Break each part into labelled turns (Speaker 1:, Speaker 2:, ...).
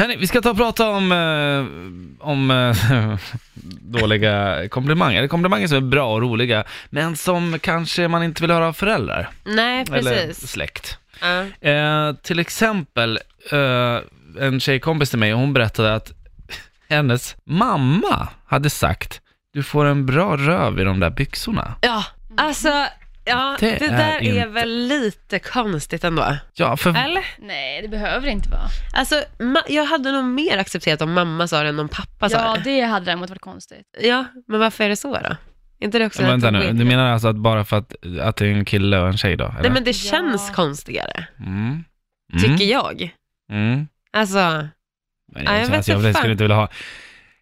Speaker 1: Hörni, vi ska ta och prata om, eh, om eh, dåliga komplimanger. Eller komplimanger som är bra och roliga, men som kanske man inte vill höra av föräldrar.
Speaker 2: Nej,
Speaker 1: Eller
Speaker 2: precis.
Speaker 1: släkt.
Speaker 2: Ja.
Speaker 1: Eh, till exempel, eh, en tjejkompis till mig, hon berättade att hennes mamma hade sagt du får en bra röv i de där byxorna.
Speaker 2: ja, alltså, ja,
Speaker 1: Det
Speaker 2: det, där
Speaker 1: är
Speaker 2: är,
Speaker 1: inte-
Speaker 2: väl lite konstigt ändå.
Speaker 1: Ja, för
Speaker 2: Eller?
Speaker 3: Nej, det behöver inte vara.
Speaker 2: Alltså, ma- jag hade nog mer accepterat om mamma sa det än om pappa sa
Speaker 3: ja,
Speaker 2: det.
Speaker 3: det hade däremot varit konstigt.
Speaker 2: Ja, men varför är det så då? Är inte det också
Speaker 1: Men Vänta
Speaker 2: rätt
Speaker 1: nu,
Speaker 2: weird?
Speaker 1: du menar alltså att bara för att, att det är en kille och en tjej då?
Speaker 2: Nej,
Speaker 1: Eller?
Speaker 2: men det känns
Speaker 3: Ja.
Speaker 2: konstigare,
Speaker 1: Mm.
Speaker 2: tycker jag.
Speaker 1: Mm. Mm.
Speaker 2: Alltså,
Speaker 1: Men
Speaker 2: Nej, jag
Speaker 1: jag,
Speaker 2: vet
Speaker 1: alltså, jag,
Speaker 2: inte fan.
Speaker 1: skulle inte vilja ha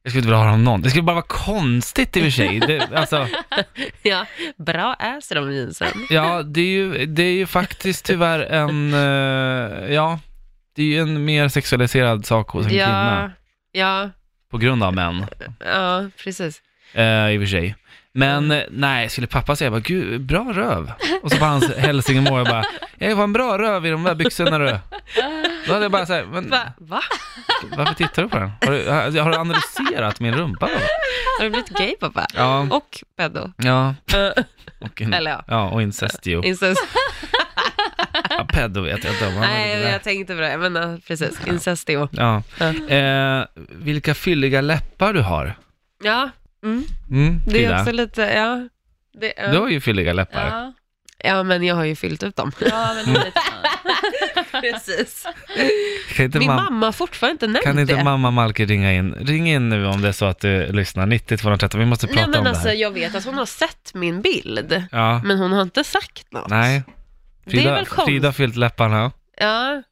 Speaker 1: jag skulle inte vilja ha dem någon. Det skulle bara vara konstigt i och för sig. Det, alltså,
Speaker 2: ja, bra ass i de jeansen.
Speaker 1: ja, det är, ju, det är ju faktiskt tyvärr en, eh, ja, det är ju en mer sexualiserad sak hos en
Speaker 2: Ja,
Speaker 1: kvinna.
Speaker 2: ja,
Speaker 1: På grund av män,
Speaker 2: ja, precis.
Speaker 1: eh, i och för sig. Men
Speaker 2: Mm.
Speaker 1: eh, nej, skulle pappa säga bara, gud, bra röv. Och så på hans hälsingemål, jag bara, jag var en bra röv i de där byxorna du. Då hade jag bara såhär, men
Speaker 2: Va? Va?
Speaker 1: varför tittar du på den? Har du, har, har du analyserat min rumpa då?
Speaker 2: Har du blivit gay pappa?
Speaker 1: Ja, Mm.
Speaker 2: Och pedo?
Speaker 1: ja.
Speaker 2: Eh,
Speaker 1: Och, en,
Speaker 2: Eller ja.
Speaker 1: ja, och incest ju.
Speaker 2: Incest?
Speaker 1: Ja, pedo vet jag inte om. han
Speaker 2: Nej,
Speaker 1: hade det.
Speaker 2: jag tänkte på det, men eh, precis, incestio.
Speaker 1: Ja.
Speaker 2: Ja.
Speaker 1: Eh, vilka fylliga läppar du har.
Speaker 2: Ja, mm,
Speaker 1: Mm,
Speaker 2: det är
Speaker 1: Frida.
Speaker 2: också lite, ja. Det, ja.
Speaker 1: Du har ju fylliga läppar.
Speaker 3: Ja,
Speaker 2: ja, men jag har ju fyllt ut dem.
Speaker 3: ja men lite så.
Speaker 2: Precis.
Speaker 1: Kan inte,
Speaker 2: Min
Speaker 1: mam-
Speaker 2: mamma har fortfarande inte nämnt
Speaker 1: kan inte
Speaker 2: det.
Speaker 1: mamma Malke ringa in? Ring in nu om det är så att du lyssnar. 90 213, vi måste prata
Speaker 2: Nej, men
Speaker 1: om
Speaker 2: alltså
Speaker 1: det här.
Speaker 2: jag vet att hon har sett min bild,
Speaker 1: Ja,
Speaker 2: men hon har inte sagt något.
Speaker 1: nej. Frida,
Speaker 2: det är väl konstigt.
Speaker 1: Frida har fyllt läpparna.
Speaker 2: Ja.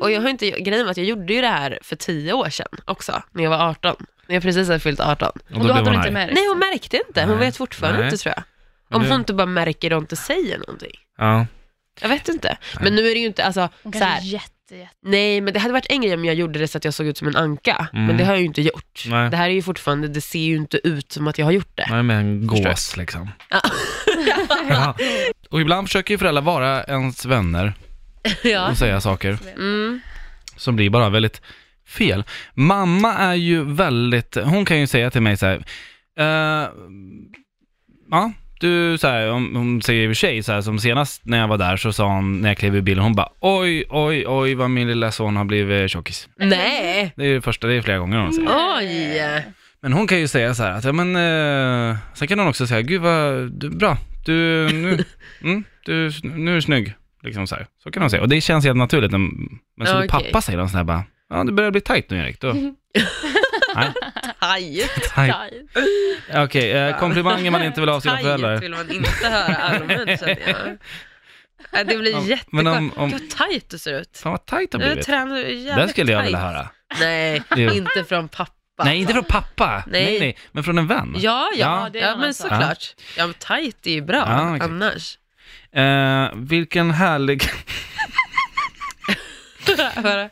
Speaker 2: Och jag har inte, grejen var att jag gjorde ju det här för tio år sedan också, när jag var 18. När jag precis hade fyllt 18.
Speaker 1: Och,
Speaker 3: Och då hade
Speaker 1: blev
Speaker 3: hon
Speaker 1: hon
Speaker 3: inte
Speaker 1: arg.
Speaker 3: märkt.
Speaker 2: Nej, hon märkte inte. Hon
Speaker 1: Nej.
Speaker 2: vet fortfarande
Speaker 1: Nej.
Speaker 2: inte tror jag.
Speaker 1: Men
Speaker 2: Om
Speaker 1: nu-
Speaker 2: hon inte bara märker det och inte säger någonting.
Speaker 1: Ja.
Speaker 2: Jag vet inte. Men nu är det ju inte, alltså,
Speaker 3: Hon
Speaker 2: så
Speaker 3: kanske
Speaker 2: här,
Speaker 3: är jätte, jätte...
Speaker 2: Nej, men det hade varit en grej om jag gjorde det så att jag såg ut som en anka.
Speaker 1: Mm.
Speaker 2: Men det har jag ju inte gjort.
Speaker 1: Nej.
Speaker 2: Det här är ju fortfarande, det ser ju inte ut som att jag har gjort det.
Speaker 1: Nej, men en
Speaker 2: Förstår.
Speaker 1: gås liksom. ja. Och ibland försöker ju föräldrar vara ens vänner
Speaker 2: ja.
Speaker 1: och säga saker.
Speaker 2: Mm.
Speaker 1: som blir bara väldigt fel. Mamma är ju väldigt, hon kan ju säga till mig så här, eh, ja, du så här, hon, hon säger i och för sig så här, som senast när jag var där så sa hon, när jag klev ur bilen, hon bara oj, oj, oj vad min lilla son har blivit tjockis.
Speaker 2: Nej,
Speaker 1: Det är det första, det är flera
Speaker 2: Mm.
Speaker 1: gånger hon säger.
Speaker 2: oj.
Speaker 1: Men hon kan ju säga så här att, ja men, eh, sen kan hon också säga, gud vad, du, bra, du, nu, mm, du, nu är du snygg. Liksom så, här. så kan hon säga, och det känns helt naturligt. när- Men så
Speaker 2: Ja,
Speaker 1: när
Speaker 2: okej.
Speaker 1: pappa säger någon sån här bara, ja du börjar bli tight nu Erik, då. Nej,
Speaker 2: Tajet.
Speaker 1: tight. Okej, eh, komplimanger man inte vill ha av sina
Speaker 2: Tajet
Speaker 1: föräldrar.
Speaker 2: vill man inte höra allmänt känner jag. Nej, Det blir
Speaker 1: Ja,
Speaker 2: jättekonstigt.
Speaker 1: men om- om-
Speaker 2: Gud vad tajt du ser ut.
Speaker 1: Fan vad tight har
Speaker 2: Nu
Speaker 1: blivit.
Speaker 2: tränar du jävligt
Speaker 1: Den skulle jag
Speaker 2: tajt.
Speaker 1: vilja höra.
Speaker 2: Nej,
Speaker 1: Jo.
Speaker 2: inte från pappa.
Speaker 1: Nej, inte från pappa. Nej.
Speaker 2: Nej.
Speaker 1: nej, men från en vän.
Speaker 2: Ja, ja,
Speaker 1: Ja,
Speaker 2: ja,
Speaker 3: det är en
Speaker 2: men
Speaker 3: annan sak.
Speaker 2: såklart. Ja, men tajt är ju bra
Speaker 1: Ja, okej.
Speaker 2: annars.
Speaker 1: Eh, vilken härlig...
Speaker 2: Höra.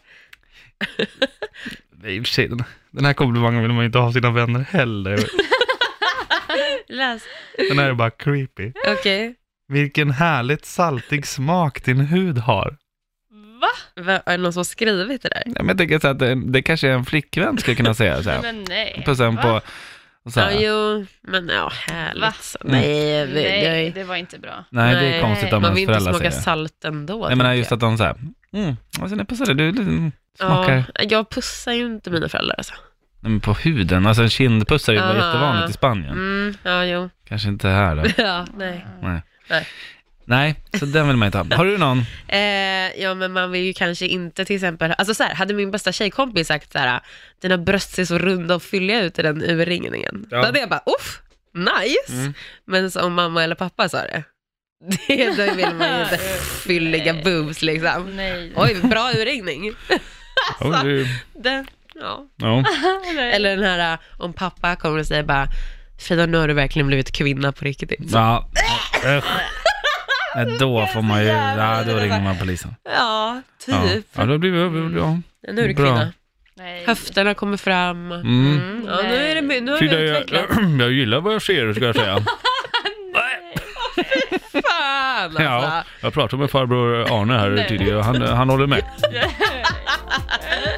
Speaker 1: Nej, i och för sig, den- den här komplimangen vill man ju inte ha av sina vänner heller.
Speaker 2: Läs.
Speaker 1: Den här är bara creepy.
Speaker 2: Okej.
Speaker 1: Vilken härligt saltig smak din hud har.
Speaker 3: Va?
Speaker 2: Va- Är det någon som har skrivit det där?
Speaker 1: Nej, men jag tänker så här att det, det kanske är en flickvän skulle kunna säga så här.
Speaker 3: Men nej.
Speaker 1: På sen på... och Så
Speaker 2: Ja,
Speaker 1: här.
Speaker 2: jo, men ja, härligt.
Speaker 3: Va?
Speaker 2: Mm. Nej, vi-
Speaker 3: Nej,
Speaker 2: jag-
Speaker 3: det var inte bra.
Speaker 1: Nej, det är
Speaker 2: Nej.
Speaker 1: konstigt om
Speaker 2: man
Speaker 1: ens
Speaker 2: vill inte
Speaker 1: föräldrar
Speaker 2: smaka
Speaker 1: säger.
Speaker 2: salt ändå.
Speaker 1: Nej, men
Speaker 2: tänker
Speaker 1: just
Speaker 2: jag.
Speaker 1: att de så här, mm, och sen är pussade, du liksom smakar...
Speaker 2: Ja, jag pussar ju inte mina föräldrar alltså.
Speaker 1: Nej, men på huden, alltså en kindpuss är ju bara
Speaker 2: Aha.
Speaker 1: jättevanligt i Spanien.
Speaker 2: Mm, ja, jo.
Speaker 1: Kanske inte här då.
Speaker 2: Ja, nej.
Speaker 1: Nej, så den vill man inte ha. Har du någon?
Speaker 2: Eh, ja, men man vill ju kanske inte till exempel, alltså så här, hade min bästa tjejkompis sagt så här, dina bröst ser så runda och fylliga ut i den urringningen.
Speaker 1: Ja.
Speaker 2: Då hade jag bara, uff, nice.
Speaker 1: Mm.
Speaker 2: Men så om mamma eller pappa sa det, det då vill man ju inte fylliga boobs liksom.
Speaker 3: Nej.
Speaker 2: Oj, bra urringning.
Speaker 1: Oh, du...
Speaker 2: Den, ja.
Speaker 1: ja.
Speaker 3: nej.
Speaker 2: Eller den här äh, om pappa kommer och säger bara Frida, nu har du verkligen blivit kvinna på riktigt.
Speaker 1: ja. Usch. Nej, då får man ju, ja, då ringer man polisen.
Speaker 2: Ja,
Speaker 1: Ja,
Speaker 2: typ.
Speaker 1: ja då blir vi, ja.
Speaker 2: Nu är du
Speaker 1: Bra.
Speaker 2: kvinna.
Speaker 3: nej.
Speaker 2: Höfterna kommer fram.
Speaker 1: Mm.
Speaker 2: Mm, ja, nu, är det, my- nu har
Speaker 1: Frida,
Speaker 2: vi
Speaker 1: jag,
Speaker 2: utvecklat.
Speaker 1: jag gillar vad jag ser, ska jag säga.
Speaker 2: Fan alltså.
Speaker 1: Ja, jag pratade med farbror Arne här
Speaker 3: Nej.
Speaker 1: tidigare och han, han håller med.